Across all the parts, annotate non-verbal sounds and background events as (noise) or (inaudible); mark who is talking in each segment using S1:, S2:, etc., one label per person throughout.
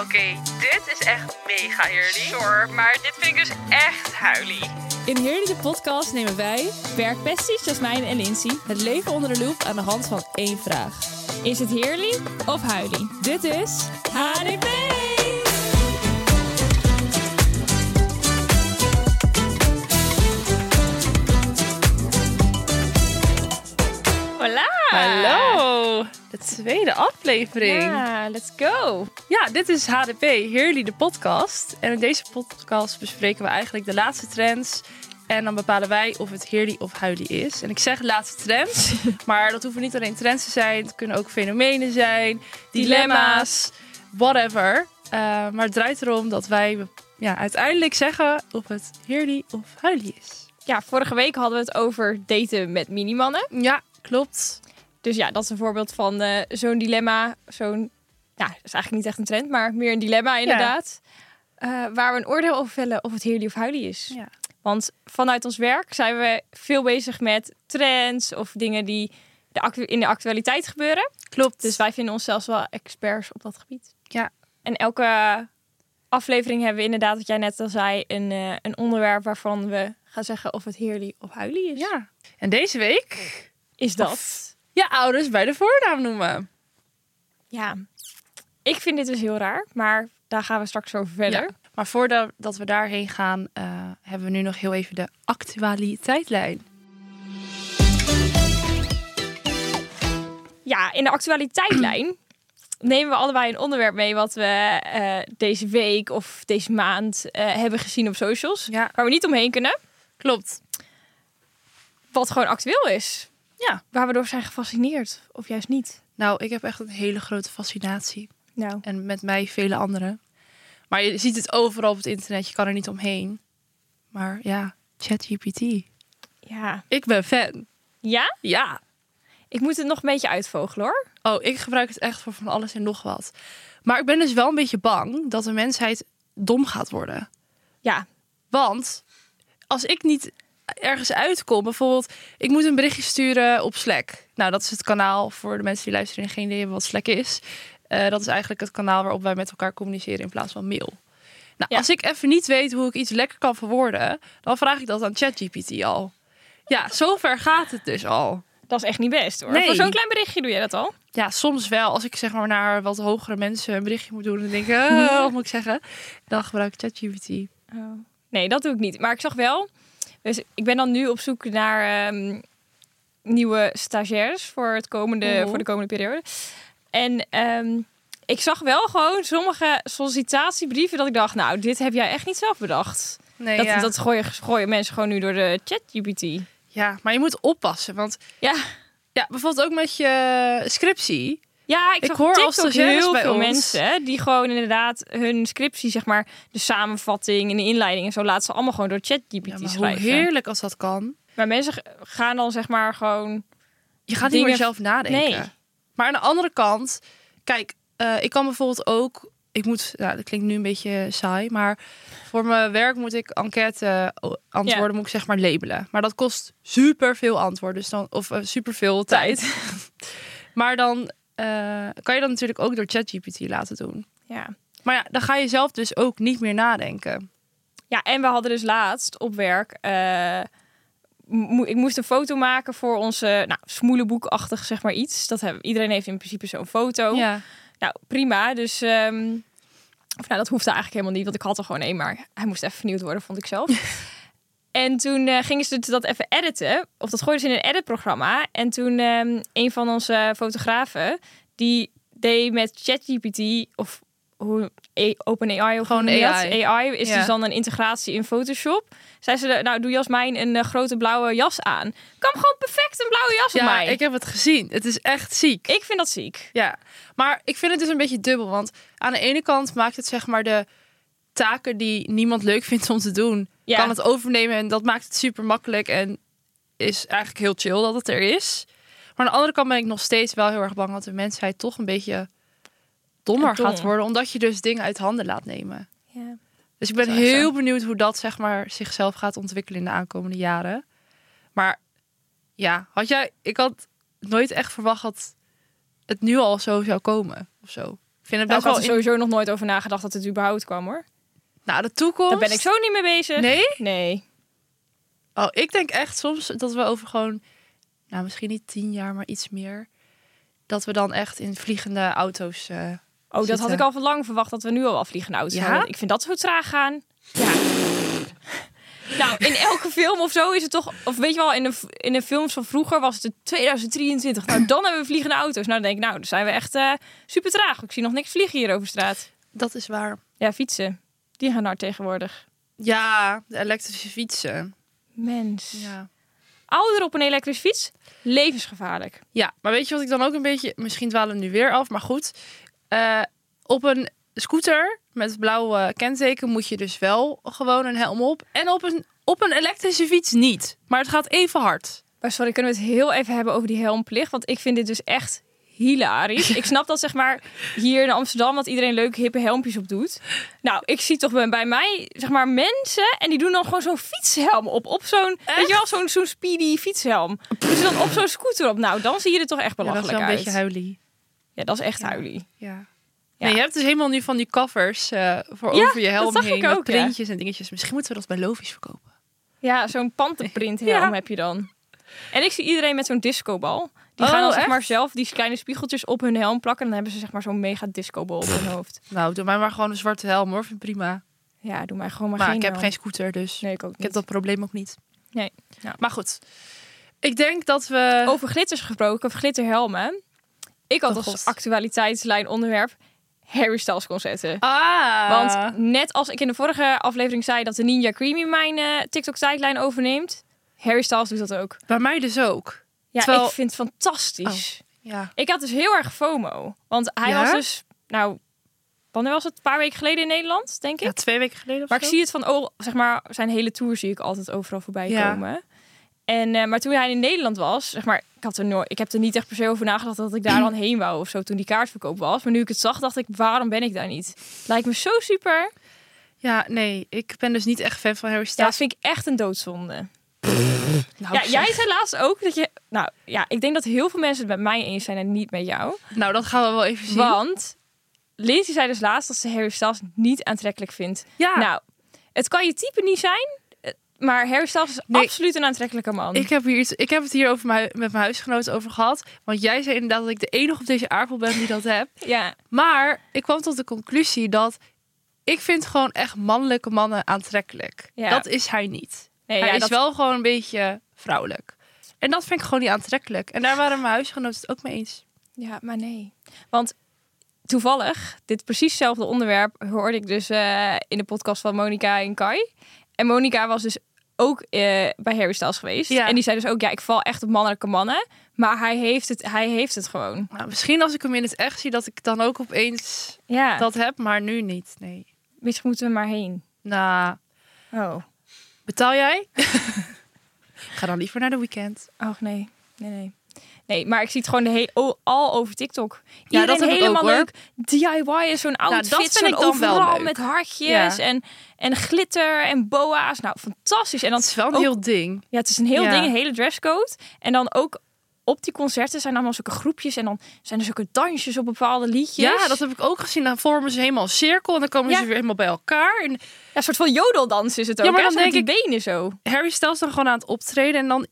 S1: Oké, dit is echt mega eerlijk. Sorry, maar dit vind ik dus echt huilie.
S2: In Heerlijke Podcast nemen wij, werkpesties Jasmijn en Lindsay, het leven onder de loep aan de hand van één vraag. Is het heerlijk of huilie? Dit is HDP! Hola!
S1: Hallo, de tweede aflevering. Ja,
S2: Ja, let's go!
S1: dit is HDP, Heerly de podcast. En in deze podcast bespreken we eigenlijk de laatste trends. En dan bepalen wij of het Heerly of huilie is. En ik zeg laatste (laughs) trends, maar dat hoeven niet alleen trends te zijn. Het kunnen ook fenomenen zijn, dilemma's, whatever. Eh, maar het draait erom dat wij ja, uiteindelijk zeggen of het Heerly of huilie is.
S2: Ja, vorige week hadden we het over daten met minimannen.
S1: Ja, klopt.
S2: Dus ja, dat is een voorbeeld van eh, zo'n dilemma. Zo'n, nou, dat is eigenlijk niet echt een trend, maar meer een dilemma inderdaad. Eh, waar we een oordeel over vellen of het heerlijk of huilie is.
S1: Ja.
S2: Want vanuit ons werk zijn we veel bezig met trends of dingen die de actu- in de actualiteit gebeuren.
S1: Klopt.
S2: Dus wij vinden onszelf wel experts op dat gebied.
S1: Ja.
S2: En elke aflevering hebben we inderdaad, wat jij net al zei, een, eh, een onderwerp waarvan we gaan zeggen of het heerlijk of huilie is.
S1: Ja. En deze week
S2: Is dat?
S1: Of- je ouders bij de voornaam noemen.
S2: Ja, ik vind dit dus heel raar, maar daar gaan we straks over verder.
S1: Ja. Maar voordat dat we daarheen gaan, eh, hebben we nu nog heel even de actualiteitlijn.
S2: Ja, in de actualiteitlijn (clears throat) nemen we allebei een onderwerp mee wat we eh, deze week of deze maand eh, hebben gezien op socials.
S1: Ja.
S2: Waar we niet omheen kunnen,
S1: Klopt.
S2: wat gewoon actueel is.
S1: Ja.
S2: Waar we door zijn gefascineerd, of juist niet.
S1: Nou, ik heb echt een hele grote fascinatie.
S2: Nou,
S1: En met mij vele anderen. Maar je ziet het overal op het internet. Je kan er niet omheen. Maar ja, ChatGPT.
S2: ja.
S1: Ik ben fan.
S2: Ja?
S1: Ja.
S2: Ik moet het nog een beetje uitvogelen hoor.
S1: Oh, ik gebruik het echt voor van alles en nog wat. Maar ik ben dus wel een beetje bang dat de mensheid dom gaat worden.
S2: Ja,
S1: Want als ik niet ergens uitkom, bijvoorbeeld, ik moet een berichtje sturen op Slack. Nou, dat is het kanaal voor de mensen die luisteren en geen idee hebben wat Slack is. Eh, dat is eigenlijk het kanaal waarop wij met elkaar communiceren in plaats van mail. Nou,
S2: Ja.
S1: als ik even niet weet hoe ik iets lekker kan verwoorden, dan vraag ik dat aan ChatGPT al. Ja, zover gaat het dus al.
S2: dat is echt niet best hoor.
S1: Nee.
S2: Voor zo'n klein berichtje doe je dat al.
S1: Ja, soms wel. Als ik zeg maar naar wat hogere mensen een berichtje moet doen, dan denk ik, eh, wat moet ik zeggen? Dan gebruik ik ChatGPT.
S2: Oh. Nee, dat doe ik niet. Maar ik zag wel. Dus ik ben dan nu op zoek naar ehm, nieuwe stagiaires voor, het komende,
S1: Mhm.
S2: voor de komende periode. En ehm, ik zag wel gewoon sommige sollicitatiebrieven dat ik dacht, nou, dit heb jij echt niet zelf bedacht.
S1: Nee,
S2: dat dat gooien, gooien mensen gewoon nu door de ChatGPT.
S1: ja, maar je moet oppassen, want
S2: Ja,
S1: Ja, bijvoorbeeld ook met je scriptie.
S2: ja ik,
S1: Ik
S2: zag
S1: hoor
S2: op
S1: als
S2: TikTok
S1: stagiaires
S2: heel
S1: bij
S2: veel
S1: ons.
S2: mensen hè, die gewoon inderdaad hun scriptie, zeg maar, de samenvatting en de inleiding en zo laten ze allemaal gewoon door ChatGPT
S1: Ja, maar hoe
S2: schrijven.
S1: heerlijk als dat kan.
S2: Maar mensen g- gaan dan zeg maar gewoon.
S1: Je gaat
S2: Dingen-
S1: niet meer zelf nadenken.
S2: Nee.
S1: Maar aan de andere kant, kijk, eh, ik kan bijvoorbeeld ook... Ik moet, nou, dat klinkt nu een beetje saai, maar voor mijn werk moet ik enquête o- antwoorden,
S2: Ja.
S1: moet ik zeg maar labelen. Maar dat kost super veel antwoord, dus dan, of eh, super veel tijd. maar dan eh, kan je dat natuurlijk ook door ChatGPT laten doen.
S2: (laughs) Ja.
S1: Maar ja, dan ga je zelf dus ook niet meer nadenken.
S2: ja, en we hadden dus laatst op werk. eh, mo- ik moest een foto maken voor onze nou, smoelenboekachtig, zeg maar iets. Dat hebben, iedereen heeft in principe zo'n foto.
S1: Ja.
S2: Nou, prima. Dus. ehm, of nou, dat hoefde eigenlijk helemaal niet, want ik had er gewoon één, maar hij moest even vernieuwd worden, vond ik
S1: (laughs)
S2: zelf. En toen eh, gingen ze dat even editen, of dat gooiden ze in een editprogramma. En toen ehm, een van onze fotografen, die deed met ChatGPT, of hoe, A- OpenAI of
S1: Gewoon
S2: hoe noem je dat?
S1: AI.
S2: AI is
S1: Ja.
S2: dus dan een integratie in Photoshop. Zei ze, nou doe Jasmijn een eh, grote blauwe jas aan. Kan gewoon perfect een blauwe jas op
S1: ja,
S2: mij.
S1: ik
S2: Ik...
S1: heb het gezien. Het is echt ziek.
S2: vind dat ziek.
S1: Ja, maar ik vind het dus een beetje dubbel. Want aan de ene kant maakt het zeg maar de taken die niemand leuk vindt om te doen,
S2: Ja.
S1: kan het overnemen. En dat maakt het super makkelijk en is eigenlijk heel chill dat het er is. Maar aan de andere kant ben ik nog steeds wel heel erg bang dat de mensheid toch een beetje dommer
S2: Dom.
S1: gaat worden. Omdat je dus dingen uit handen laat nemen.
S2: Ja.
S1: Dus ik
S2: Dat
S1: ben
S2: is wel echt
S1: heel
S2: zo.
S1: benieuwd hoe dat zeg maar zichzelf gaat ontwikkelen in de aankomende jaren. Maar ja, had jij, ik had nooit echt verwacht dat het nu al zo zou komen of zo. vind het
S2: Nou,
S1: best
S2: ik had
S1: wel...
S2: er
S1: in-
S2: sowieso nog nooit over nagedacht dat het überhaupt kwam hoor.
S1: Nou, de toekomst...
S2: Daar ben ik zo niet mee bezig.
S1: Nee?
S2: Nee.
S1: Oh, ik denk echt soms dat we over gewoon... Nou, misschien niet tien jaar, maar iets meer. Dat we dan echt in vliegende auto's... eh,
S2: Oh, dat had
S1: Zitten.
S2: ik al van lang verwacht dat we nu al afvliegen auto's
S1: Ja?
S2: hadden. Ik vind dat zo traag gaan. Ja.
S1: (laughs)
S2: nou, in elke film of zo is het toch... Of weet je wel, in de, v- in de films van vroeger was het de 2023. Nou, dan hebben we vliegende auto's. Nou, dan denk ik, nou, dan zijn we echt eh, super traag. Ik zie nog niks vliegen hier over straat.
S1: dat is waar.
S2: Ja, fietsen. Die gaan hard tegenwoordig.
S1: Ja, de elektrische fietsen.
S2: Mens.
S1: Ja.
S2: Ouder op een elektrische fiets? Levensgevaarlijk.
S1: Ja, maar weet je wat ik dan ook een beetje... Misschien dwalen we nu weer af, maar goed. Eh, op een scooter met blauw eh, kenteken moet je dus wel gewoon een helm op. En op een, op een elektrische fiets niet. Maar het gaat even hard.
S2: Maar sorry, kunnen we het heel even hebben over die helmplicht? Want ik vind dit dus echt
S1: (laughs)
S2: hilarisch. Ik snap dat zeg maar hier in Amsterdam dat iedereen leuke hippe helmpjes op doet. Nou, ik zie toch bij- bij mij zeg maar mensen en die doen dan gewoon zo'n fietshelm op. Op zo'n, weet je wel, zo'n zo'n speedy fietshelm. Dus dan op zo'n scooter op. Nou, dan zie je er toch echt
S1: Ja, dat is
S2: belachelijk
S1: wel een
S2: uit.
S1: beetje huilie.
S2: ja, dat is echt
S1: Ja.
S2: huilie.
S1: Ja.
S2: Ja.
S1: Nee, je hebt dus helemaal nu van die covers eh, voor
S2: Ja,
S1: over je helm
S2: dat zag
S1: heen.
S2: ik
S1: met
S2: ook, ja.
S1: printjes en dingetjes. Misschien moeten we dat bij Lovies verkopen.
S2: Ja, zo'n pantenprinthelm
S1: Ja.
S2: heb je dan. En ik zie iedereen met zo'n discobal. Die gaan
S1: Oh,
S2: dan zeg
S1: echt?
S2: maar zelf die kleine spiegeltjes op hun helm plakken. En dan hebben ze zeg maar zo'n mega discobal op hun hoofd.
S1: Nou, doe mij maar gewoon een zwarte helm hoor. Vind ik prima.
S2: Ja, doe mij gewoon maar,
S1: Maar,
S2: geen
S1: ik heb
S2: naam.
S1: geen scooter, dus
S2: Nee, ik ook
S1: ik heb
S2: niet.
S1: dat probleem ook niet.
S2: Nee. Ja.
S1: Maar goed. Ik denk dat we...
S2: Over glitters gesproken, of glitterhelmen. Ik had
S1: Oh, God.
S2: als actualiteitslijn onderwerp Harry Styles concerten.
S1: Ah.
S2: Want net als ik in de vorige aflevering zei dat de Ninja Creamy mijn eh, TikTok-tijdlijn overneemt, Harry Styles doet dat ook.
S1: Bij mij dus ook.
S2: Ja,
S1: Terwijl-
S2: ik vind het fantastisch.
S1: Ja.
S2: Ik had dus heel erg FOMO. Want hij
S1: Ja?
S2: was dus, nou, wanneer was het? Een paar weken geleden in Nederland, denk ik.
S1: twee weken geleden of
S2: Maar ik zie het van, oh, zeg maar, zijn hele tour zie ik altijd overal voorbij
S1: Ja.
S2: komen. En, eh, maar toen hij in Nederland was, zeg maar, ik, had er nooit, ik heb er niet echt per se over nagedacht dat ik daar dan heen wou of zo toen die kaartverkoop was. Maar nu ik het zag, dacht ik, waarom ben ik daar niet? Lijkt me zo super.
S1: Ja, nee. Ik ben dus niet echt fan van Harry
S2: Ja, dat
S1: Styles.
S2: vind ik echt een doodzonde.
S1: nou,
S2: Ja,
S1: zeg.
S2: jij zei laatst ook dat je, nou ja, ik denk dat heel veel mensen het met mij eens zijn en niet met jou.
S1: nou, dat gaan we wel even zien.
S2: Want Lindsay zei dus laatst dat ze Harry Styles niet aantrekkelijk vindt.
S1: Ja,
S2: Nou, het kan je type niet zijn, eh, maar Harry Styles is
S1: Nee.
S2: absoluut een aantrekkelijke man.
S1: ik heb, hier iets, ik heb het hier over mijn, met mijn huisgenoot over gehad. Want jij zei inderdaad dat ik de enige op deze aardbol ben die dat heb.
S2: Ja,
S1: Maar ik kwam tot de conclusie dat... Ik vind gewoon echt mannelijke mannen aantrekkelijk.
S2: Ja.
S1: Dat is hij niet.
S2: nee,
S1: hij
S2: ja,
S1: is
S2: dat,
S1: wel gewoon een beetje vrouwelijk. En dat vind ik gewoon niet aantrekkelijk. En daar waren mijn huisgenoten het ook mee eens.
S2: ja, maar nee. Want toevallig, dit precieszelfde onderwerp hoorde ik dus eh, in de podcast van Monica en Kai. En Monica was dus ook eh, bij Harry Styles geweest.
S1: Ja.
S2: En die zei dus ook, ja, ik val echt op mannelijke mannen. Maar hij heeft het, hij heeft het gewoon.
S1: Nou, misschien als ik hem in het echt zie, dat ik dan ook opeens
S2: Ja,
S1: dat heb, maar nu niet. Nee.
S2: misschien moeten we maar heen.
S1: Nou,
S2: Oh,
S1: betaal jij? Ga dan liever naar de weekend.
S2: och nee, nee, nee. Nee, maar ik zie het gewoon de he- o- al over TikTok.
S1: Ja,
S2: Iedereen
S1: dat heb ik
S2: helemaal
S1: ook, hoor. Nou,
S2: leuk. DIY is zo'n outfit,
S1: dat vind
S2: zo'n
S1: ik dan wel
S2: overal
S1: leuk.
S2: met hartjes
S1: Ja.
S2: en, en glitter en boa's. Nou, fantastisch. En dan,
S1: Dat is wel een
S2: ook-
S1: heel ding.
S2: ja, het is een heel
S1: Ja.
S2: ding, een hele dresscode. En dan ook op die concerten zijn allemaal zulke groepjes en dan zijn er zulke dansjes op bepaalde liedjes.
S1: Ja, dat heb ik ook gezien. Dan vormen ze helemaal een cirkel en dan komen
S2: Ja.
S1: ze weer helemaal bij elkaar. En
S2: Ja, een soort van jodeldans is het ook.
S1: Ja, maar
S2: hè?
S1: dan
S2: Zo met
S1: denk
S2: die benen zo.
S1: Harry Styles dan gewoon aan het optreden en dan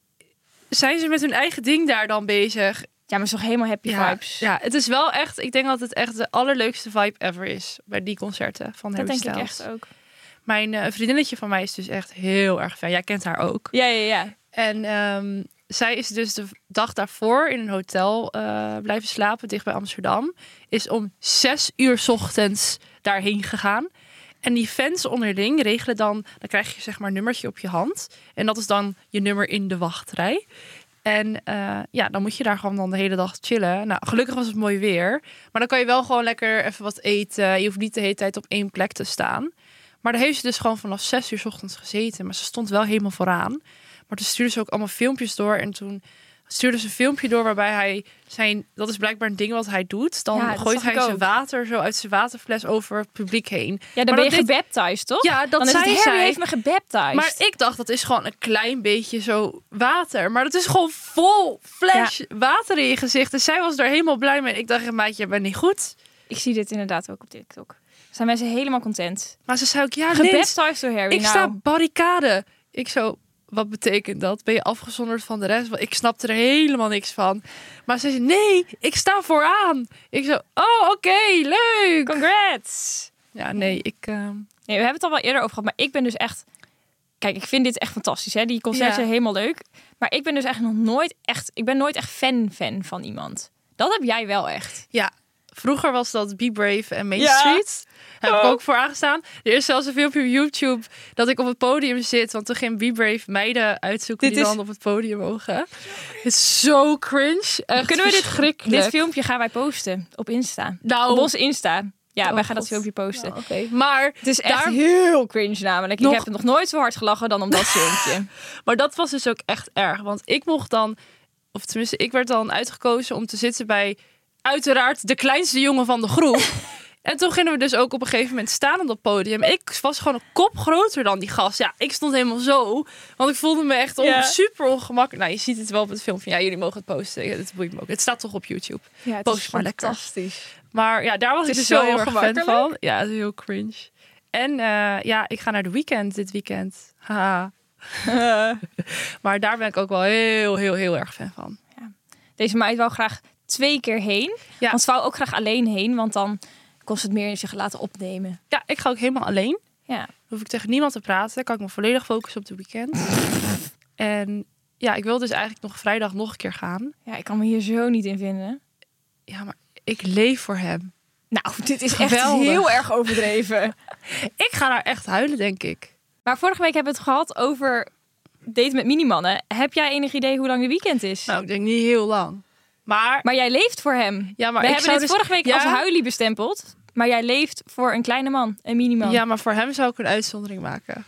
S1: zijn ze met hun eigen ding daar dan bezig.
S2: Ja, maar het is toch helemaal happy
S1: Ja,
S2: vibes.
S1: ja, het is wel echt, ik denk dat het echt de allerleukste vibe ever is bij die concerten van
S2: dat
S1: Harry
S2: denk
S1: Styles.
S2: ik echt ook.
S1: Mijn eh, vriendinnetje van mij is dus echt heel erg fan. Jij kent haar ook.
S2: Ja, ja, ja.
S1: En ehm, zij is dus de dag daarvoor in een hotel eh, blijven slapen, dicht bij Amsterdam. Is om zes uur 's ochtends daarheen gegaan. En die fans onderling regelen dan, dan krijg je zeg maar een nummertje op je hand. En dat is dan je nummer in de wachtrij. En eh, ja, dan moet je daar gewoon dan de hele dag chillen. Nou, gelukkig was het mooi weer. Maar dan kan je wel gewoon lekker even wat eten. Je hoeft niet de hele tijd op één plek te staan. Maar daar heeft ze dus gewoon vanaf zes uur 's ochtends gezeten. Maar ze stond wel helemaal vooraan. Maar toen stuurde ze ook allemaal filmpjes door. En toen stuurde ze een filmpje door waarbij hij zijn... Dat is blijkbaar een ding wat hij doet. Dan
S2: Ja, dat
S1: gooit
S2: zag
S1: hij
S2: ik
S1: zijn
S2: ook.
S1: water zo uit zijn waterfles over het publiek heen.
S2: Ja,
S1: Maar
S2: dan ben je
S1: dat
S2: gebaptized, toch?
S1: Ja, dat
S2: dan is het,
S1: zei
S2: Harry
S1: zij.
S2: heeft me gebaptized.
S1: Maar ik dacht, dat is gewoon een klein beetje zo water. Maar dat is gewoon Dus vol flash water in je gezicht. En zij was daar helemaal blij mee. En ik dacht, maatje, je bent niet goed.
S2: Ik zie dit inderdaad ook op TikTok. Zijn mensen helemaal content.
S1: Maar ze zei ook, ja, Lins,
S2: Gebaptized door Harry.
S1: ik
S2: nou,
S1: sta barricade. Ik zo, wat betekent dat? Ben je afgezonderd van de rest? Want ik snapte er helemaal niks van. Maar ze zei, nee, ik sta vooraan. Ik zo, oh, oké, leuk.
S2: congrats.
S1: Ja, nee, ik... ehm,
S2: Nee, we hebben het al wel eerder over gehad, maar ik ben dus echt... Kijk, ik vind dit echt fantastisch, hè. Die concerten
S1: Ja.
S2: zijn helemaal leuk. Maar ik ben dus echt nog nooit echt... Ik ben nooit echt fan-fan van iemand. Dat heb jij wel echt.
S1: Ja, vroeger was dat Be Brave en Main
S2: Ja.
S1: Street. Heb ik
S2: Oh.
S1: ook voor aangestaan. Er is zelfs een filmpje op YouTube dat ik op het podium zit. Want toen ging Be Brave meiden uitzoeken
S2: Dit
S1: die
S2: is-
S1: dan op het podium mogen. Het is zo cringe. Echt
S2: Eh, Kunnen we dit-
S1: verschrikkelijk.
S2: Dit filmpje gaan wij posten op Insta.
S1: Nou,
S2: Op ons Insta. Ja,
S1: Oh,
S2: wij gaan dat
S1: God.
S2: filmpje posten.
S1: nou, oké. Maar,
S2: Het is echt
S1: Daar-
S2: heel cringe namelijk.
S1: Nog-
S2: Ik heb het nog nooit zo hard gelachen dan om
S1: (laughs)
S2: dat filmpje.
S1: maar dat was dus ook echt erg. Want ik mocht dan, of tenminste, ik werd dan uitgekozen om te zitten bij uiteraard de kleinste jongen van de
S2: (laughs)
S1: groep. En toen gingen we dus ook op een gegeven moment staan op dat podium. Ik was gewoon een kop groter dan die gast. Ja, ik stond helemaal zo. Want ik voelde me echt on-
S2: Ja.
S1: super ongemakkelijk. Nou, je ziet het wel op het filmpje. Ja, jullie mogen het posten. Ja, Het boeit me ook. Het staat toch op YouTube.
S2: Ja, het
S1: Post maar lekker.
S2: (laughs) fantastisch.
S1: Maar ja, daar was
S2: Het
S1: ik dus
S2: is
S1: wel
S2: zo
S1: heel erg fan
S2: ongemakkelijk.
S1: van. Ja, het is heel cringe. En eh, ja, ik ga naar de weekend dit weekend. Haha.
S2: Eh,
S1: Maar daar ben ik ook wel heel, heel, heel erg fan van.
S2: Deze meid wou graag twee keer heen.
S1: Ja.
S2: Want ze wou ook graag alleen heen, want dan kost het meer zich laten opnemen.
S1: Ja, ik ga ook helemaal alleen.
S2: Ja.
S1: Hoef ik tegen niemand te praten. Kan ik me volledig focussen op de weekend. (laughs) en ja, ik wil dus eigenlijk nog vrijdag nog een keer gaan.
S2: ja, ik kan me hier zo niet in vinden.
S1: Ja, maar ik leef voor hem.
S2: Nou, (laughs) dit is
S1: Geweldig.
S2: echt heel erg overdreven.
S1: (laughs) Ik ga daar echt huilen, denk ik.
S2: maar vorige week hebben we het gehad over daten met minimannen. Heb jij enig idee hoe lang de weekend is?
S1: Nou, ik denk niet heel lang. Maar
S2: Maar jij leeft voor hem.
S1: Ja, maar
S2: we
S1: ik
S2: hebben
S1: zou
S2: dit
S1: dus-
S2: vorige week
S1: Ja.
S2: als huilie bestempeld. Maar jij leeft voor een kleine man, een miniman.
S1: Ja, maar voor hem zou ik een uitzondering maken.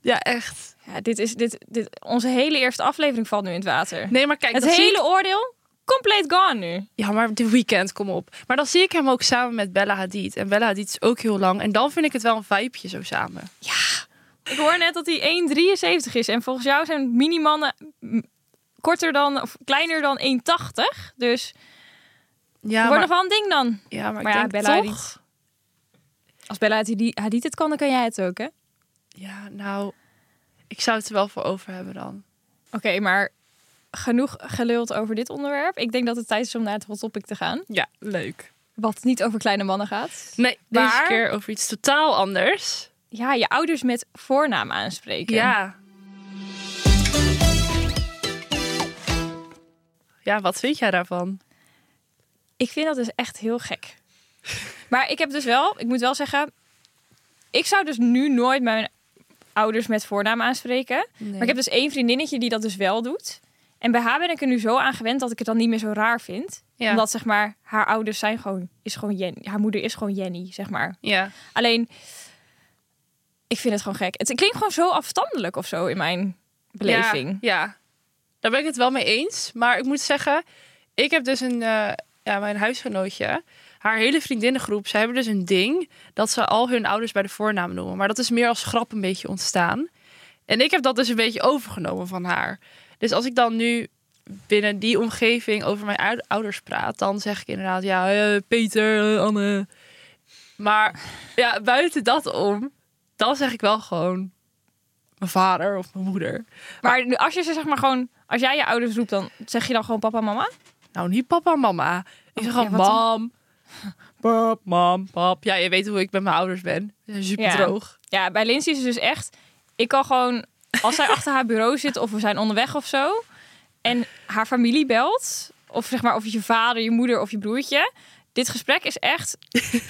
S1: Ja, echt.
S2: Ja, dit is, dit, dit, onze hele eerste aflevering valt nu in het water.
S1: Nee, maar kijk,
S2: het
S1: dan zie
S2: hele
S1: ik-
S2: oordeel, compleet gone nu.
S1: Ja, maar de weekend, kom op. Maar dan zie ik hem ook samen met Bella Hadid. En Bella Hadid is ook heel lang. En dan vind ik het wel een vibeje zo samen.
S2: Ik hoor net dat hij 1,73 is. En volgens jou zijn minimannen m, korter dan, of kleiner dan 1,80. Dus
S1: Ja,
S2: wordt
S1: maar,
S2: nog wel een ding dan.
S1: ja, maar,
S2: Maar
S1: ik
S2: ja,
S1: denk
S2: Bella
S1: toch...
S2: Hadid. Als Bella Hadid Hadid het kan, dan kan jij het ook, hè? Oké,
S1: Ja, nou, ik zou het er wel voor over hebben dan.
S2: maar genoeg geluld over dit onderwerp. Ik denk dat het tijd is om naar het hot topic te gaan.
S1: Ja, leuk.
S2: Wat niet over kleine mannen gaat.
S1: Nee, deze
S2: Maar-
S1: keer over iets totaal anders.
S2: Ja, je ouders met voornaam aanspreken.
S1: Ja. Ja, wat vind jij daarvan?
S2: Ik vind dat dus echt heel gek. Maar ik heb dus wel, ik moet wel zeggen, ik zou dus nu nooit mijn ouders met voornaam aanspreken. Maar ik heb dus één vriendinnetje die dat dus wel doet. En bij haar ben ik er nu zo aan gewend dat ik het dan niet meer zo raar vind.
S1: Ja.
S2: Omdat zeg maar, haar ouders zijn gewoon, is gewoon Jen, haar moeder is gewoon Jenny, zeg maar.
S1: Ja.
S2: Alleen, ik vind het gewoon gek. Het klinkt gewoon zo afstandelijk of zo in mijn beleving.
S1: Ja, ja. daar ben ik het wel mee eens. Maar ik moet zeggen, ik heb dus een, eh, ja, mijn huisgenootje, haar hele vriendinnengroep, ze hebben dus een ding dat ze al hun ouders bij de voornaam noemen. Maar dat is meer als grap een beetje ontstaan. En ik heb dat dus een beetje overgenomen van haar. Dus als ik dan nu binnen die omgeving over mijn ou- ouders praat, dan zeg ik inderdaad, ja, eh, Peter, eh, Anne. Maar ja, buiten dat om, dan zeg ik wel gewoon mijn vader of mijn moeder.
S2: Maar nu- als je ze zeg maar gewoon, als jij je ouders roept, dan zeg je dan gewoon papa, mama?
S1: Nou, niet papa en mama. Ik zeg
S2: ja,
S1: gewoon
S2: wat dan?
S1: (laughs) mam. Pap, mam, pap. Ja, je weet hoe ik met mijn ouders ben. Ze zijn Super
S2: Ja.
S1: droog.
S2: Ja, bij Lindsay is het dus echt, ik kan gewoon, als zij achter haar bureau zit of we zijn onderweg of zo, en haar familie belt, of zeg maar of het je vader, je moeder of je broertje, dit gesprek is (laughs) echt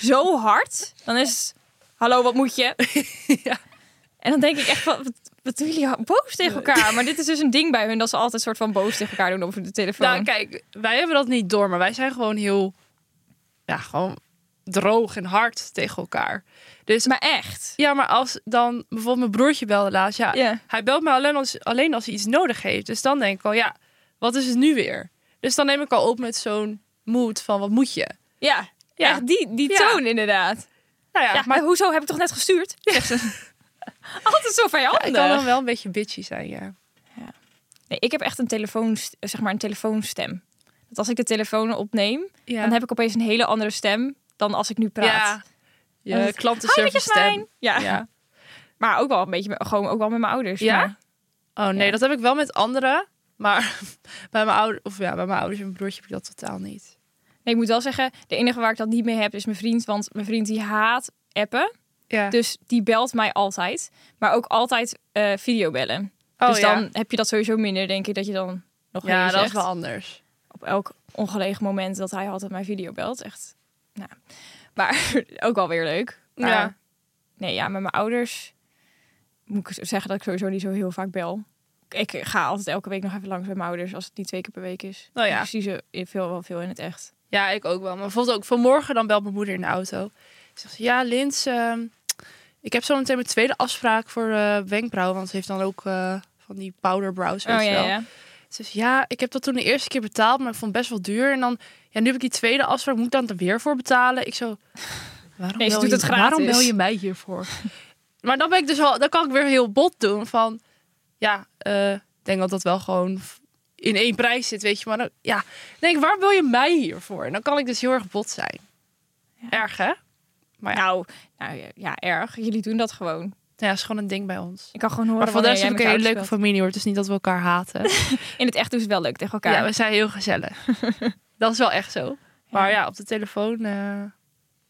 S2: zo hard. Dan is het, hallo, wat moet (laughs) je? En dan denk ik echt, wat, wat, wat doen jullie boos tegen elkaar? Maar dit is dus een ding bij hun, dat ze altijd soort van boos tegen elkaar doen over de telefoon.
S1: Nou, kijk, wij hebben dat niet door, maar wij zijn gewoon heel, ja, gewoon droog en hard tegen elkaar. Dus
S2: maar echt.
S1: ja, maar als dan bijvoorbeeld mijn broertje belde laatst, ja,
S2: Ja.
S1: hij belt mij alleen als, alleen als hij iets nodig heeft. Dus dan denk ik al, ja, wat is het nu weer? Dus dan neem ik al op met zo'n moed van, wat moet je?
S2: Ja,
S1: Ja.
S2: echt die, die
S1: Ja.
S2: toon inderdaad.
S1: Nou
S2: Ja, maar hoezo heb ik toch net gestuurd? Zegt ze. (laughs) Altijd zo vijandig.
S1: ik kan dan wel een beetje bitchy zijn, ja.
S2: Nee, ik heb echt een, telefoon, zeg maar een telefoonstem. Dat als ik de telefoon opneem,
S1: ja.
S2: dan heb ik opeens een hele andere stem dan als ik nu praat.
S1: Ja.
S2: En
S1: Je
S2: dat-
S1: klantenservice stem.
S2: Jasmijn! Ja.
S1: (laughs) Ja.
S2: maar ook wel een beetje, met- gewoon ook wel met mijn ouders.
S1: Ja?
S2: maar-
S1: Oh nee,
S2: Ja.
S1: dat heb ik wel met anderen. Maar (laughs) bij mijn ouders, of ja, bij mijn ouders en mijn broertje heb ik dat totaal niet.
S2: Nee, ik moet wel zeggen, de enige waar ik dat niet mee heb is mijn vriend. Want mijn vriend die haat appen.
S1: Ja.
S2: Dus die belt mij altijd. Maar ook altijd eh videobellen.
S1: oh,
S2: dus dan
S1: ja,
S2: heb je dat sowieso minder, denk ik, dat je dan nog
S1: ja
S2: meer
S1: dat is
S2: zegt.
S1: wel anders.
S2: Op elk ongelegen moment dat hij altijd mijn video belt. Echt, nou. Maar (laughs) ook wel weer leuk. Maar,
S1: Ja.
S2: Nee, ja, met mijn ouders moet ik zeggen dat ik sowieso niet zo heel vaak bel. Ik ga altijd elke week nog even langs bij mijn ouders als het niet twee keer per week is. Dus
S1: Nou ja. Oh,
S2: Ik zie ze veel, wel veel in het echt.
S1: Ja, ik ook wel. Maar bijvoorbeeld ook vanmorgen dan belt mijn moeder in de auto. Zegt ze, ja Lins, ehm, ik heb zo meteen mijn tweede afspraak voor eh wenkbrauwen. Want ze heeft dan ook eh, van die powder brows, weet
S2: Oh
S1: je wel.
S2: ja, ja.
S1: Ze zegt, ja, ik heb dat toen de eerste keer betaald, maar ik vond het best wel duur. En dan, ja, nu heb ik die tweede afspraak, moet ik dan er weer voor betalen? Ik zo, waarom,
S2: Nee, ze
S1: bel,
S2: doet
S1: je,
S2: het gratis.
S1: waarom bel je mij
S2: (laughs)
S1: hiervoor? maar dan ben ik dus al, dan kan ik weer heel bot doen van, ja, eh, ik denk dat dat wel gewoon f- in één prijs zit, weet je. Maar dan, ja, dan denk ik, waarom bel je mij hiervoor? En dan kan ik dus heel erg bot zijn. Erg, hè? Maar ja,
S2: Nou, nou ja, ja, erg. Jullie doen dat gewoon.
S1: ja, is gewoon een ding bij ons.
S2: Ik kan gewoon horen
S1: Maar voor de
S2: wanneer
S1: rest
S2: jij
S1: heb ik
S2: met
S1: een hele
S2: je
S1: leuke
S2: ouders
S1: familie, hoor. Het is niet dat we elkaar
S2: (laughs)
S1: haten.
S2: speelt. In het echt doen ze wel leuk tegen elkaar.
S1: Ja, we zijn heel gezellig. (laughs) dat is wel echt zo. Maar ja, op de telefoon. eh,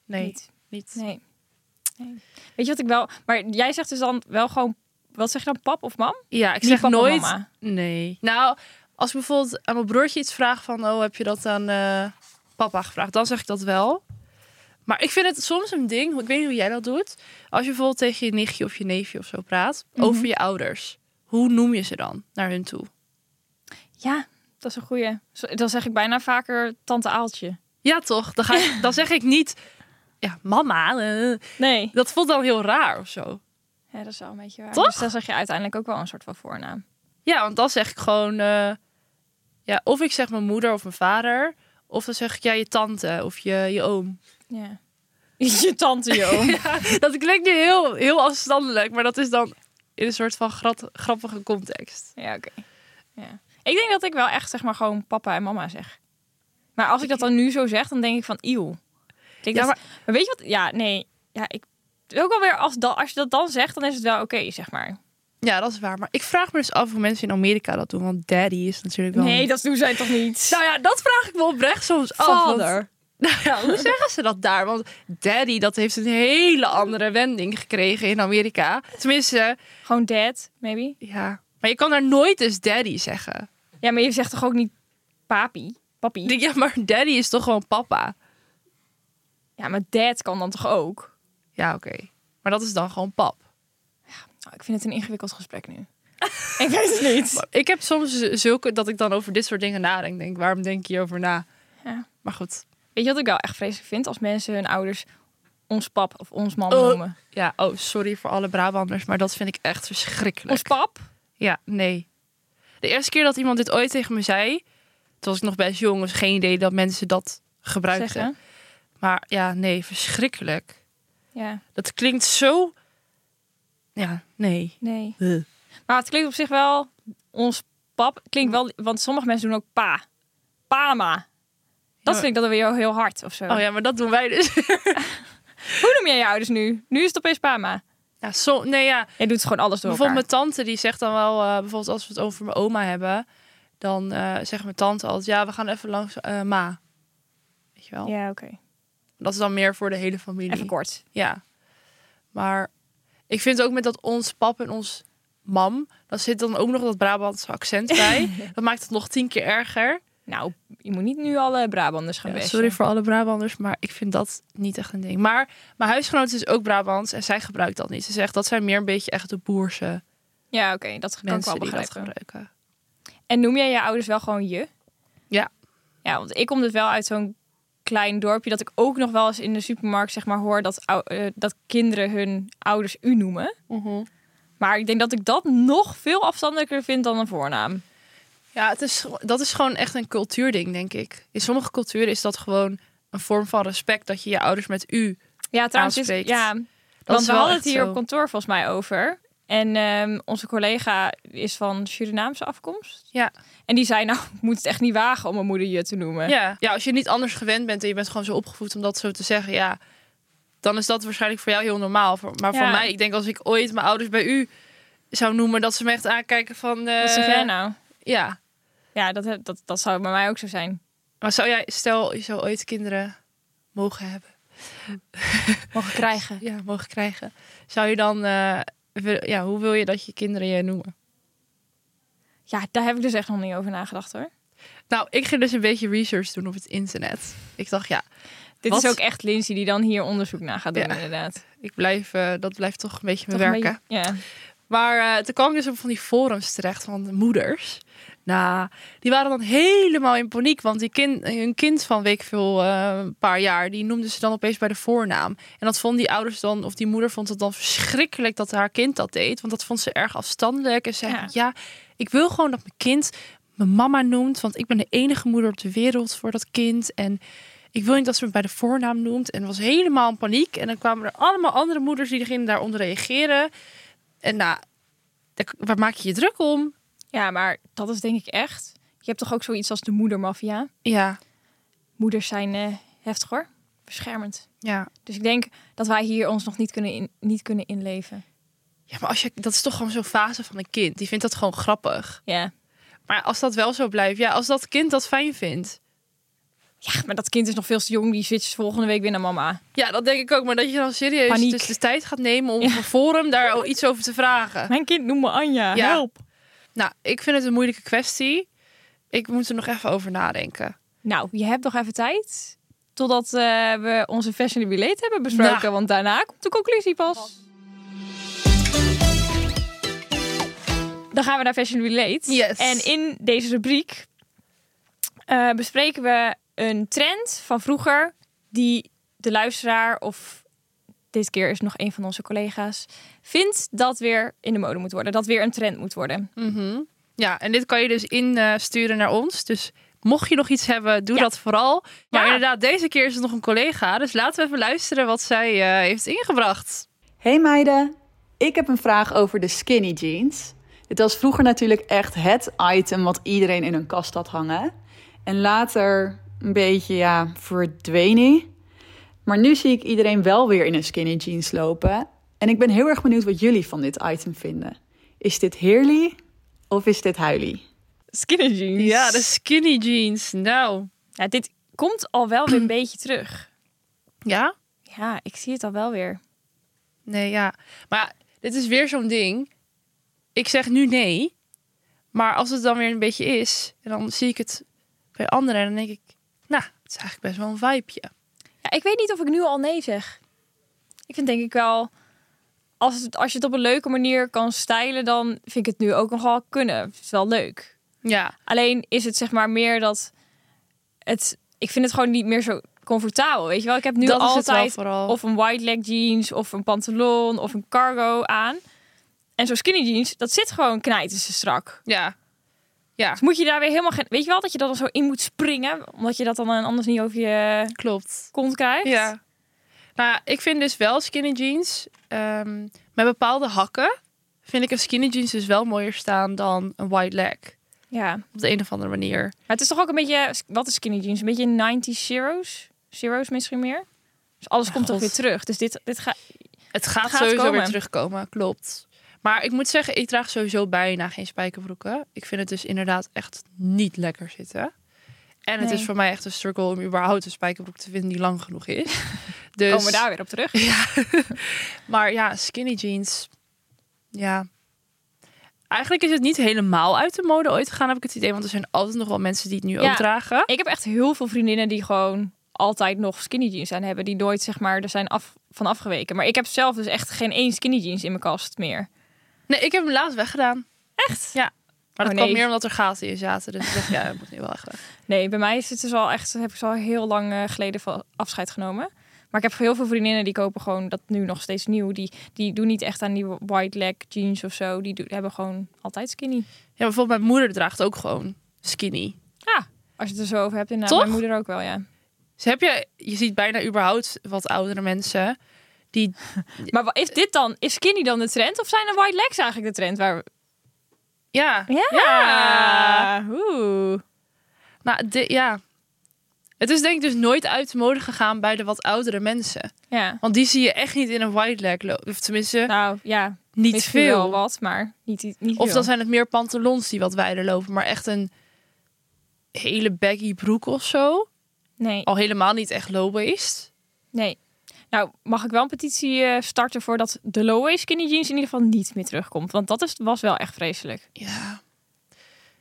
S1: nee, niet.
S2: Niet. Nee. Nee. Weet je wat ik wel... Maar jij zegt dus dan wel gewoon... Wat zeg je dan? Pap of mam?
S1: Ja, ik
S2: Niet
S1: zeg
S2: pap of
S1: nooit.
S2: mama.
S1: Nee. Nou, als ik bijvoorbeeld aan mijn broertje iets vraag van, oh, heb je dat aan eh, papa gevraagd? Dan zeg ik dat wel. Maar ik vind het soms een ding, ik weet niet hoe jij dat doet. Als je bijvoorbeeld tegen je nichtje of je neefje of zo praat
S2: Mhm.
S1: over je ouders. Hoe noem je ze dan naar hun toe?
S2: Ja, dat is een goeie. Zo- Dan zeg ik bijna vaker tante Aaltje.
S1: Ja, toch? Dan, ga
S2: (laughs)
S1: ik, dan zeg ik niet, ja, mama. eh.
S2: Nee.
S1: dat voelt dan heel raar of zo.
S2: Ja, dat is wel een beetje waar.
S1: Toch?
S2: Dus dan zeg je uiteindelijk ook wel een soort van voornaam.
S1: Ja, want dan zeg ik gewoon... eh, ja, of ik zeg mijn moeder of mijn vader. Of dan zeg ik, ja, je tante of je, je oom. (laughs)
S2: Ja. (laughs) Je tante, je (laughs) oom.
S1: Dat klinkt nu heel, heel afstandelijk, maar dat is dan in een soort van grat- grappige context.
S2: Ja, oké. Ja. Ik denk dat ik wel echt zeg maar gewoon papa en mama zeg. Maar als ik dat dan nu zo zeg, dan denk ik van eeuw. Klinkt
S1: Ja,
S2: dat- maar... weet je wat? Ja, nee. Ja, ik... Ook alweer, als, dan, als je dat dan zegt, dan is het wel oké, zeg maar.
S1: Ja, dat is waar. Maar ik vraag me dus af hoe mensen in Amerika dat doen, want daddy is natuurlijk wel...
S2: Nee, dat doen zij toch niet?
S1: Nou ja, dat vraag ik me oprecht soms af. want-
S2: Vader.
S1: Nou ja, hoe zeggen ze dat daar? Want daddy, dat heeft een hele andere wending gekregen in Amerika. Tenminste,
S2: (laughs) Gewoon dad, maybe.
S1: ja. Maar je kan daar nooit dus daddy zeggen.
S2: Ja, maar je zegt toch ook niet papi?
S1: Ik
S2: Papi?
S1: denk, ja, maar daddy is toch gewoon papa?
S2: Ja, maar dad kan dan toch ook?
S1: Ja, oké. Maar dat is dan gewoon pap.
S2: Oh, ik vind het een ingewikkeld gesprek nu. (laughs) ik weet het niet.
S1: Ik heb soms z- zulke dat ik dan over dit soort dingen nadenk. Denk, waarom denk je hierover na?
S2: Ja.
S1: Maar goed.
S2: Weet je wat ik wel echt vreselijk vind? Als mensen hun ouders ons pap of ons mam
S1: Oh.
S2: noemen.
S1: Ja, oh, sorry voor alle Brabanders, maar dat vind ik echt verschrikkelijk.
S2: Ons pap?
S1: Ja, nee. De eerste keer dat iemand dit ooit tegen me zei, toen was ik nog best jong, dus geen idee dat mensen dat gebruikten.
S2: Zeggen.
S1: Maar ja, nee, verschrikkelijk.
S2: Ja,
S1: Dat klinkt zo... Ja, nee.
S2: nee.
S1: Huh.
S2: Maar het klinkt op zich wel... Ons pap klinkt wel... Want sommige mensen doen ook pa. Pama. Dat
S1: Ja.
S2: vind ik dan weer heel hard of zo.
S1: Oh ja, maar dat doen wij dus. (laughs)
S2: Hoe noem jij je ouders nu? Nu is het opeens pama.
S1: Ja, zo, nee, ja.
S2: Jij doet gewoon alles door elkaar.
S1: Bijvoorbeeld mijn tante die zegt dan wel, eh, bijvoorbeeld als we het over mijn oma hebben, dan eh, zegt mijn tante altijd, ja, we gaan even langs eh, ma. Weet je wel?
S2: Ja, oké.
S1: Dat is dan meer voor de hele familie.
S2: Even kort.
S1: Ja. Maar ik vind ook met dat ons pap en ons mam, dan zit dan ook nog dat Brabantse accent bij.
S2: (laughs)
S1: dat maakt het nog tien keer erger.
S2: Nou, je moet niet nu alle Brabanders gaan
S1: Ja,
S2: bashen.
S1: sorry voor alle Brabanders, maar ik vind dat niet echt een ding. Maar mijn huisgenoot is ook Brabants en zij gebruikt dat niet. Ze zegt dat zijn meer een beetje echt de boerse
S2: Ja, oké, dat kan ik
S1: mensen
S2: wel
S1: die dat
S2: begrijpen.
S1: gebruiken.
S2: En noem jij je ouders wel gewoon je?
S1: Ja.
S2: Ja, want ik kom dus wel uit zo'n klein dorpje dat ik ook nog wel eens in de supermarkt zeg maar hoor dat, ou- eh, dat kinderen hun ouders u noemen. Maar ik denk dat ik dat nog veel afstandelijker vind dan een voornaam.
S1: Ja, het is, dat is gewoon echt een cultuurding, denk ik. In sommige culturen is dat gewoon een vorm van respect dat je je ouders met u.
S2: Ja, trouwens, is,
S1: Aanspreekt.
S2: ja,
S1: Dat
S2: want
S1: is
S2: we
S1: wel
S2: hadden het
S1: echt
S2: hier
S1: zo.
S2: op kantoor volgens mij over. En ehm, onze collega is van Surinaamse afkomst.
S1: Ja.
S2: En die zei, nou, (laughs) ik moet het echt niet wagen om mijn moeder je te noemen.
S1: Ja. ja, als je niet anders gewend bent en je bent gewoon zo opgevoed om dat zo te zeggen, ja, dan is dat waarschijnlijk voor jou heel normaal. Voor- Maar voor
S2: Ja.
S1: mij, ik denk als ik ooit mijn ouders bij u zou noemen, dat ze me echt aankijken van. eh,
S2: Wat zeg jij nou?
S1: Ja,
S2: Ja, dat, dat, dat zou bij mij ook zo zijn.
S1: maar zou jij, stel je zou ooit kinderen mogen hebben,
S2: Mogen krijgen.
S1: ja, mogen krijgen, zou je dan, eh, wil- ja, hoe wil je dat je kinderen je noemen?
S2: Ja, daar heb ik dus echt nog niet over nagedacht hoor.
S1: Nou, ik ging dus een beetje research doen op het internet. Ik dacht, ja,
S2: Dit
S1: Wat?
S2: is ook echt Lindsay die dan hier onderzoek naar gaat doen,
S1: Ja.
S2: inderdaad.
S1: ik blijf, eh, dat blijft toch een beetje
S2: Toch
S1: mijn
S2: een
S1: werken.
S2: beetje- Ja.
S1: Maar eh, toen kwam ik dus op van die forums terecht van de moeders. Nou, die waren dan helemaal in paniek. Want die kind, hun kind van week veel, eh, een paar jaar, die noemden ze dan opeens bij de voornaam. En dat vonden die ouders dan, of die moeder vond het dan verschrikkelijk dat haar kind dat deed. Want dat vond ze erg afstandelijk. En zei, ja,
S2: Ja.
S1: ik wil gewoon dat mijn kind mijn mama noemt. Want ik ben de enige moeder op de wereld voor dat kind. En ik wil niet dat ze me bij de voornaam noemt. En was helemaal in paniek. En dan kwamen er allemaal andere moeders die gingen daaronder reageren. En nou, daar- waar maak je je druk om?
S2: ja, maar dat is denk ik echt. Je hebt toch ook zoiets als de moedermafia?
S1: Ja,
S2: Moeders zijn eh, heftig hoor. Beschermend.
S1: ja.
S2: Dus ik denk dat wij hier ons nog niet kunnen, in, niet kunnen inleven.
S1: Ja, maar als je, dat is toch gewoon zo'n fase van een kind. Die vindt dat gewoon grappig.
S2: Ja.
S1: Maar als dat wel zo blijft, ja, als dat kind dat fijn vindt.
S2: ja, maar dat kind is nog veel te jong. Die switcht volgende week weer naar mama.
S1: Ja, dat denk ik ook. Maar dat je dan serieus
S2: Paniek.
S1: dus de tijd gaat nemen om
S2: Ja.
S1: op een forum daar al iets over te vragen.
S2: Mijn kind noemt me Anja.
S1: Ja.
S2: Help.
S1: Nou, ik vind het een moeilijke kwestie. Ik moet er nog even over nadenken.
S2: Nou, je hebt nog even tijd. Totdat eh, we onze Fashion Relate hebben besproken.
S1: Nou.
S2: Want daarna komt de conclusie pas. Dan gaan we naar Fashion Relate.
S1: Yes.
S2: En in deze rubriek eh, bespreken we een trend van vroeger. Die de luisteraar of dit keer is nog een van onze collega's. Vindt dat weer in de mode moet worden. Dat weer een trend moet worden.
S1: Mhm. Ja, en dit kan je dus insturen naar ons. Dus mocht je nog iets hebben, doe
S2: Ja.
S1: dat vooral. Maar
S2: Ja.
S1: inderdaad, deze keer is het nog een collega. Dus laten we even luisteren wat zij eh, heeft ingebracht.
S3: Hey meiden, ik heb een vraag over de skinny jeans. Dit was vroeger natuurlijk echt het item wat iedereen in hun kast had hangen. En later een beetje, ja, verdween die. Maar nu zie ik iedereen wel weer in een skinny jeans lopen. En ik ben heel erg benieuwd wat jullie van dit item vinden. Is dit heerly of is dit huilie?
S2: Skinny jeans.
S1: Ja, dus- de skinny jeans. Nou,
S2: Ja, dit komt al wel weer een beetje terug.
S1: ja?
S2: Ja, ik zie het al wel weer.
S1: Nee, ja. Maar ja, dit is weer zo'n ding. Ik zeg nu nee. Maar als het dan weer een beetje is, en dan zie ik het bij anderen, en dan denk ik, nou, het is eigenlijk best wel een vibeje.
S2: Ja, ik weet niet of ik nu al nee zeg. Ik vind denk ik wel... Als, het, als je het op een leuke manier kan stylen, dan vind ik het nu ook nogal kunnen. Het is wel leuk.
S1: Ja,
S2: Alleen is het zeg maar meer dat... Het, ik vind het gewoon niet meer zo comfortabel, weet je wel. Ik heb nu
S1: dat is het wel
S2: altijd
S1: vooral.
S2: of een wide leg jeans, of een pantalon, of een cargo aan. En zo'n skinny jeans, dat zit gewoon knijten strak.
S1: ja. Ja,
S2: Dus moet je daar weer helemaal geen... Weet je wel dat je dat dan zo in moet springen? Omdat je dat dan eh, anders niet over je
S1: klopt.
S2: kont krijgt?
S1: Ja. Nou, ja, ik vind dus wel skinny jeans ehm, met bepaalde hakken. Vind ik een skinny jeans dus wel mooier staan dan een wide leg.
S2: ja. Maar
S1: Op de een of andere manier.
S2: het is toch ook een beetje... Wat is skinny jeans? Een beetje 90 zeros? Zeros misschien meer? Dus alles komt toch
S1: God.
S2: weer terug. Dus dit, dit gaat...
S1: Het gaat,
S2: Het gaat
S1: sowieso
S2: komen.
S1: weer terugkomen, klopt. Maar ik moet zeggen, ik draag sowieso bijna geen spijkerbroeken. Ik vind het dus inderdaad echt niet lekker zitten. En het
S2: Nee.
S1: is voor mij echt een struggle om überhaupt een spijkerbroek te vinden die lang genoeg is.
S2: (laughs)
S1: Dus,
S2: Komen we daar weer op terug?
S1: Maar ja, skinny jeans. Ja. Eigenlijk is het niet helemaal uit de mode ooit gegaan, heb ik het idee. Want er zijn altijd nog wel mensen die het nu
S2: Ja.
S1: ook dragen.
S2: Ik heb echt heel veel vriendinnen die gewoon altijd nog skinny jeans aan hebben. Die nooit zeg maar er zijn af, van afgeweken. Maar ik heb zelf dus echt geen één skinny jeans in mijn kast meer.
S1: Nee, ik heb hem laatst weggedaan.
S2: Echt?
S1: Ja. Maar dat
S2: Oh, nee.
S1: kwam meer omdat er gaten in zaten. Dus ik dacht, ja, dat moet nu wel echt weg.
S2: Nee, bij mij is het dus al echt, heb ik ze al heel lang eh, geleden van afscheid genomen. Maar ik heb heel veel vriendinnen die kopen gewoon dat nu nog steeds nieuw. Die, die doen niet echt aan die white leg jeans of zo. Die doen- hebben gewoon altijd skinny.
S1: Ja, bijvoorbeeld mijn moeder draagt ook gewoon skinny.
S2: Ja, als je het er zo over hebt. En
S1: Toch?
S2: mijn moeder ook wel, ja.
S1: Dus heb je, je ziet bijna überhaupt wat oudere mensen Die,
S2: Maar wa- is dit dan, is skinny dan de trend? Of zijn de white legs eigenlijk de trend? Waar we...
S1: ja.
S2: Ja. Oeh.
S1: Nou, de, ja. Het is denk ik dus nooit uit de mode gegaan bij de wat oudere mensen.
S2: Ja.
S1: Want die zie je echt niet in een wide leg lopen. Of tenminste,
S2: Nou ja,
S1: niet
S2: misschien wel
S1: veel.
S2: wat, maar niet, niet veel.
S1: of dan zijn het meer pantalons die wat wijder lopen. Maar echt een hele baggy broek of zo.
S2: Nee,
S1: Al helemaal niet echt low-waist.
S2: nee. Nou, mag ik wel een petitie eh, starten voordat de low-waist skinny jeans in ieder geval niet meer terugkomt? Want dat is, was wel echt vreselijk.
S1: Ja.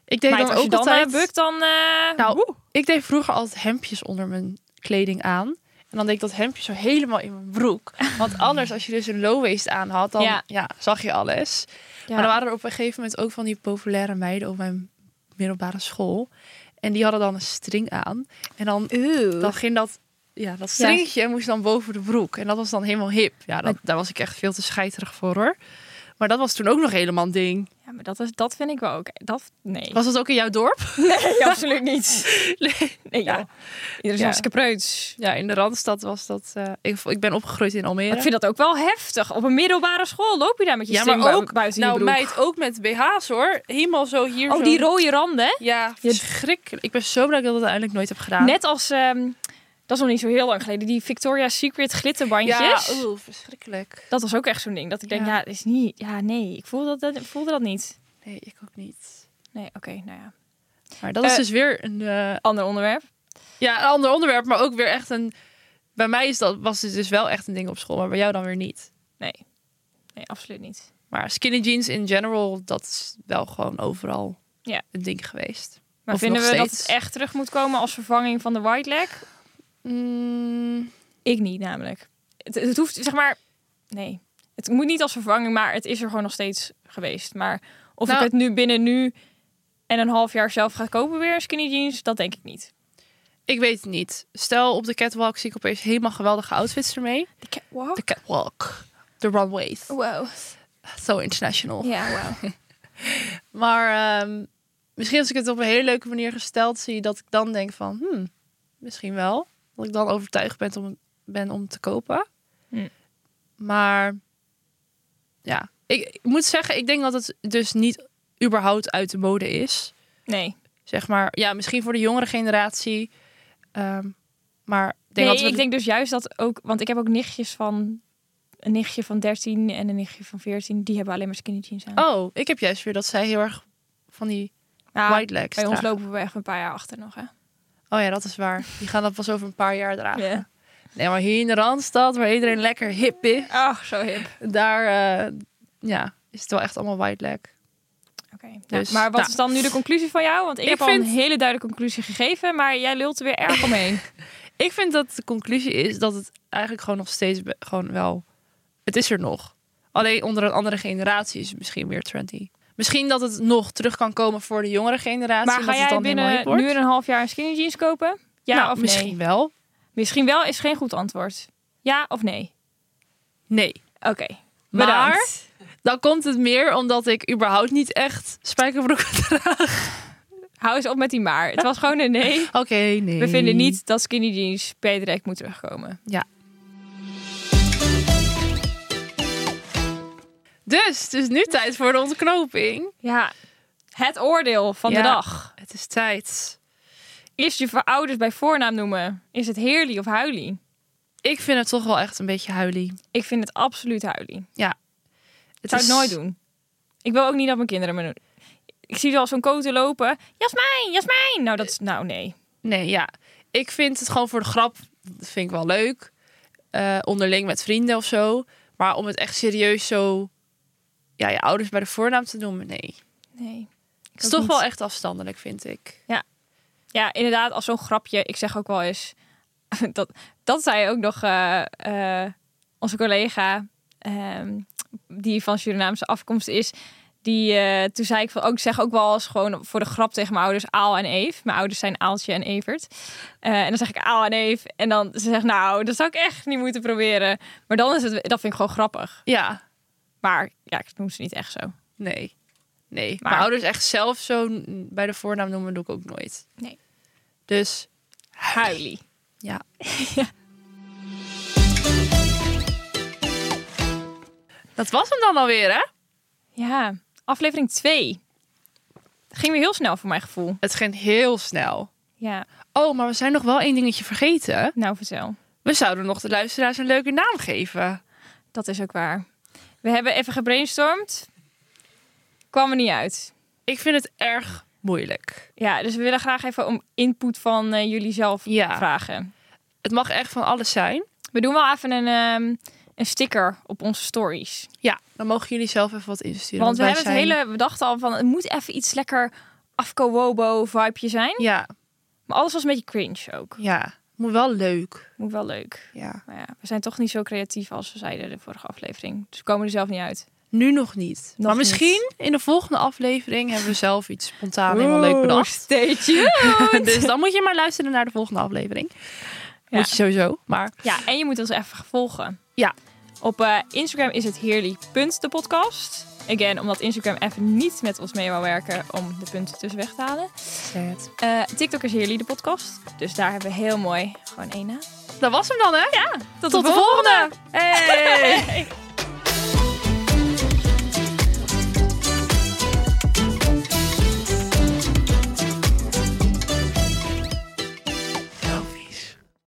S1: Ik deed
S2: maar
S1: dan
S2: als je
S1: ook
S2: dan
S1: altijd...
S2: eh, bukt, dan... eh,
S1: Nou, ik deed vroeger altijd hemdjes onder mijn kleding aan. En dan deed ik dat hemdje zo helemaal in mijn broek. (laughs) Want anders, als je dus een low-waist aan had, dan
S2: Ja.
S1: ja. zag je alles.
S2: ja.
S1: Maar dan waren er op een gegeven moment ook van die populaire meiden op mijn middelbare school. En die hadden dan een string aan. En dan, dan ging dat, ja, dat stringetje moest dan boven de broek. En dat was dan helemaal hip. Ja, dat, daar was ik echt veel te scheiterig voor hoor. Maar dat was toen ook nog helemaal een ding.
S2: Ja, maar dat, is, dat vind ik wel ook... Dat, nee.
S1: Was dat ook in jouw dorp?
S2: Nee, absoluut
S1: (laughs)
S2: niet. Nee,
S1: Ja.
S2: joh. Iedereen is
S1: Ja.
S2: hartstikke preuts.
S1: Ja, in de Randstad was dat... eh, ik, ik ben opgegroeid in Almere.
S2: Ik vind dat ook wel heftig. Op een middelbare school loop je daar met je string bui- buiten
S1: nou,
S2: je broek.
S1: meid, ook met BH's hoor. Helemaal zo hier.
S2: Oh,
S1: zo.
S2: die rode randen. hè?
S1: Ja,
S2: Je-
S1: verschrikkelijk. Ik ben zo blij dat ik dat uiteindelijk nooit heb gedaan.
S2: Net als, ehm, dat is nog niet zo heel lang geleden, die Victoria's Secret glitterbandjes.
S1: Ja, oeh, verschrikkelijk.
S2: dat was ook echt zo'n ding. Dat ik denk,
S1: Ja.
S2: ja, dat is niet... Ja, nee, ik voelde dat, ik voelde dat niet.
S1: Nee, ik ook niet.
S2: Nee, oké, nou ja.
S1: Maar dat is
S2: Eh,
S1: dus weer een, eh,
S2: Ander onderwerp.
S1: ja, een ander onderwerp, maar ook weer echt een... Bij mij is dat, was het dus wel echt een ding op school, maar bij jou dan weer niet.
S2: Nee. Nee, absoluut niet.
S1: Maar skinny jeans in general, dat is wel gewoon overal
S2: Ja.
S1: een ding geweest.
S2: Maar
S1: Of
S2: vinden
S1: nog
S2: we dat het
S1: steeds.
S2: echt terug moet komen als vervanging van de white leg?
S1: Mm,
S2: Ik niet, namelijk. Het, het hoeft, zeg maar, nee. Het moet niet als vervanging, maar het is er gewoon nog steeds geweest. Maar of
S1: Nou-
S2: ik het nu binnen nu en een half jaar zelf ga kopen weer, skinny jeans, dat denk ik niet.
S1: ik weet het niet. Stel, op de catwalk zie ik opeens helemaal geweldige outfits ermee.
S2: De catwalk?
S1: De catwalk. De runways.
S2: Wow.
S1: Zo international.
S2: Ja, wow.
S1: Maar ehm, misschien als ik het op een hele leuke manier gesteld zie, dat ik dan denk van, hmm, misschien wel. Dat ik dan overtuigd ben om, ben om te kopen. Hm.
S2: Hmm.
S1: Maar ja, ik, ik moet zeggen, ik denk dat het dus niet überhaupt uit de mode is.
S2: Nee.
S1: Zeg maar, ja, misschien voor de jongere generatie. ehm, maar ik denk
S2: nee,
S1: dat we
S2: ik denk dus juist dat ook, want ik heb ook nichtjes van, een nichtje van 13 en een nichtje van 14, die hebben alleen maar skinny jeans aan.
S1: Oh, ik heb juist weer dat zij heel erg van die
S2: Ja,
S1: white legs
S2: Nou, bij ons
S1: dragen.
S2: lopen we echt een paar jaar achter nog, hè.
S1: Oh ja, dat is waar. Die gaan dat pas over een paar jaar dragen.
S2: Ja.
S1: Nee, maar hier in de Randstad, waar iedereen lekker hip is,
S2: Ach, zo hip.
S1: daar eh, ja, is het wel echt allemaal white leg.
S2: Oké,
S1: Dus,
S2: maar wat
S1: nou.
S2: is dan nu de conclusie van jou? Want ik,
S1: Ik
S2: heb al
S1: vind-
S2: een hele duidelijke conclusie gegeven, maar jij lult er weer
S1: (laughs)
S2: erg omheen.
S1: Ik vind dat de conclusie is dat het eigenlijk gewoon nog steeds be- gewoon wel... Het is er nog. Alleen onder een andere generatie is het misschien weer trendy. Misschien dat het nog terug kan komen voor de jongere generatie.
S2: maar
S1: dat
S2: ga
S1: het
S2: jij
S1: dan helemaal
S2: binnen
S1: hip wordt.
S2: nu en een half jaar een skinny jeans kopen? Ja
S1: Nou,
S2: of
S1: misschien
S2: nee?
S1: wel.
S2: Misschien wel is geen goed antwoord. Ja of nee?
S1: Nee.
S2: Oké,
S1: Maar-
S2: bedankt.
S1: Dan komt het meer omdat ik überhaupt niet echt spijkerbroeken (laughs) draag.
S2: Hou eens op met die
S1: (laughs)
S2: maar. Het was gewoon een nee.
S1: Oké, nee.
S2: We vinden niet dat skinny jeans per direct moet terugkomen.
S1: Dus het is nu tijd voor de ontknoping.
S2: Ja, het oordeel van
S1: Ja.
S2: de dag.
S1: Het is tijd.
S2: Is je voor ouders bij voornaam noemen? Is het Heerly of Huilie?
S1: Ik vind het toch wel echt een beetje huilie.
S2: Ik vind het absoluut Huilie.
S1: Het
S2: zou
S1: is-
S2: ik nooit doen. Ik wil ook niet dat mijn kinderen me doen. Ik zie wel zo'n koten lopen. Jasmijn, Jasmijn. Nou, dat is nou nee.
S1: Nee, ja. Ik vind het gewoon voor de grap, dat vind ik wel leuk. Eh, onderling met vrienden of zo. Maar om het echt serieus zo, ja, je ouders bij de voornaam te noemen, nee.
S2: Nee.
S1: Het is toch wel echt afstandelijk, vind ik.
S2: Ja, inderdaad, als zo'n grapje. Ik zeg ook wel eens. (laughs) Dat, dat zei ook nog eh, eh, onze collega. ehm, die van Surinaamse afkomst is. Die, eh, toen zei ik van, ook ik zeg ook wel eens gewoon voor de grap tegen mijn ouders Aal en Eve. Mijn ouders zijn Aaltje en Evert. Eh, en dan zeg ik Aal en Eve. En dan ze zegt, nou, dat zou ik echt niet moeten proberen. Maar dan is het, dat vind ik gewoon grappig.
S1: Ja,
S2: Maar ja, ik noem ze niet echt zo.
S1: nee. Nee.
S2: Maar-
S1: Mijn ouders echt zelf zo n- bij de voornaam noemen, doe ik ook nooit.
S2: Nee.
S1: Dus,
S2: Huilie.
S1: ja. Dat was hem dan alweer, hè?
S2: Ja, aflevering 2. Ging weer heel snel voor mijn gevoel.
S1: Het ging heel snel.
S2: Ja,
S1: Oh, maar we zijn nog wel één dingetje vergeten.
S2: nou vertel.
S1: We zouden nog de luisteraars een leuke naam geven.
S2: Dat is ook waar. We hebben even gebrainstormd. Kwam er niet uit.
S1: Ik vind het erg moeilijk.
S2: Ja, dus we willen graag even om input van eh, jullie zelf
S1: Ja.
S2: vragen.
S1: Het mag echt van alles zijn.
S2: We doen wel even een, ehm, een sticker op onze stories.
S1: Ja, dan mogen jullie zelf even wat insturen.
S2: Want we
S1: wij
S2: hebben
S1: zijn-
S2: het hele, we dachten al van het moet even iets lekker afko-wobo vibeje zijn.
S1: Ja,
S2: Maar alles was een beetje cringe ook.
S1: ja. Moet wel leuk.
S2: Moet wel leuk.
S1: Ja.
S2: Maar ja, we zijn toch niet zo creatief als we zeiden de vorige aflevering. Dus we komen er zelf niet uit.
S1: Nu nog niet.
S2: Nog
S1: maar misschien in de volgende aflevering hebben we zelf iets spontaan helemaal
S2: Oeh,
S1: leuk bedacht.
S2: stay
S1: (laughs)
S2: tuned.
S1: Dus dan moet je maar luisteren naar de volgende aflevering.
S2: Ja.
S1: Moet je sowieso. Maar
S2: ja, en je moet ons even volgen.
S1: Ja.
S2: Op eh, Instagram is het heerlijk.depodcast. Again, omdat Instagram even niet met ons mee wil werken om de punten tussen weg te halen. Eh, TikTok is heerlijk de podcast. Dus daar hebben we heel mooi gewoon één na.
S1: dat was hem dan, hè?
S2: Tot,
S1: Tot de volgende! Hey!
S2: Hey.